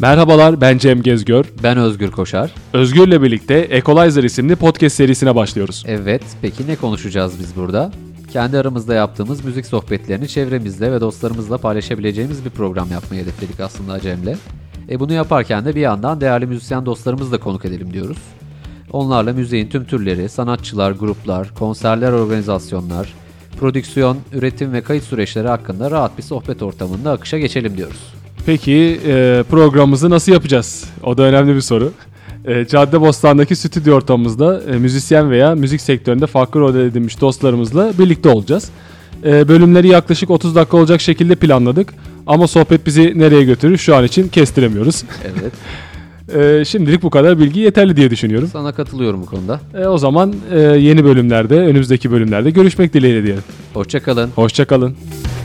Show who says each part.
Speaker 1: Merhabalar ben Cem Gezgör.
Speaker 2: Ben Özgür Koşar.
Speaker 1: Özgür'le birlikte Equalizer isimli podcast serisine başlıyoruz.
Speaker 2: Evet, peki ne konuşacağız biz burada? Kendi aramızda yaptığımız müzik sohbetlerini çevremizle ve dostlarımızla paylaşabileceğimiz bir program yapmayı hedefledik aslında Cem'le. E bunu yaparken de bir yandan değerli müzisyen dostlarımızı da konuk edelim diyoruz. Onlarla müziğin tüm türleri, sanatçılar, gruplar, konserler, organizasyonlar, prodüksiyon, üretim ve kayıt süreçleri hakkında rahat bir sohbet ortamında akışa geçelim diyoruz.
Speaker 1: Peki e, programımızı nasıl yapacağız? O da önemli bir soru. E, Caddebostan'daki stüdyo ortamımızda e, müzisyen veya müzik sektöründe farklı rol edinmiş dostlarımızla birlikte olacağız. E, bölümleri yaklaşık 30 dakika olacak şekilde planladık. Ama sohbet bizi nereye götürür şu an için kestiremiyoruz.
Speaker 2: Evet,
Speaker 1: E, şimdilik bu kadar bilgi yeterli diye düşünüyorum.
Speaker 2: sana katılıyorum bu konuda.
Speaker 1: E, o zaman e, yeni bölümlerde, önümüzdeki bölümlerde görüşmek dileğiyle diyelim.
Speaker 2: Hoşçakalın.
Speaker 1: Hoşçakalın.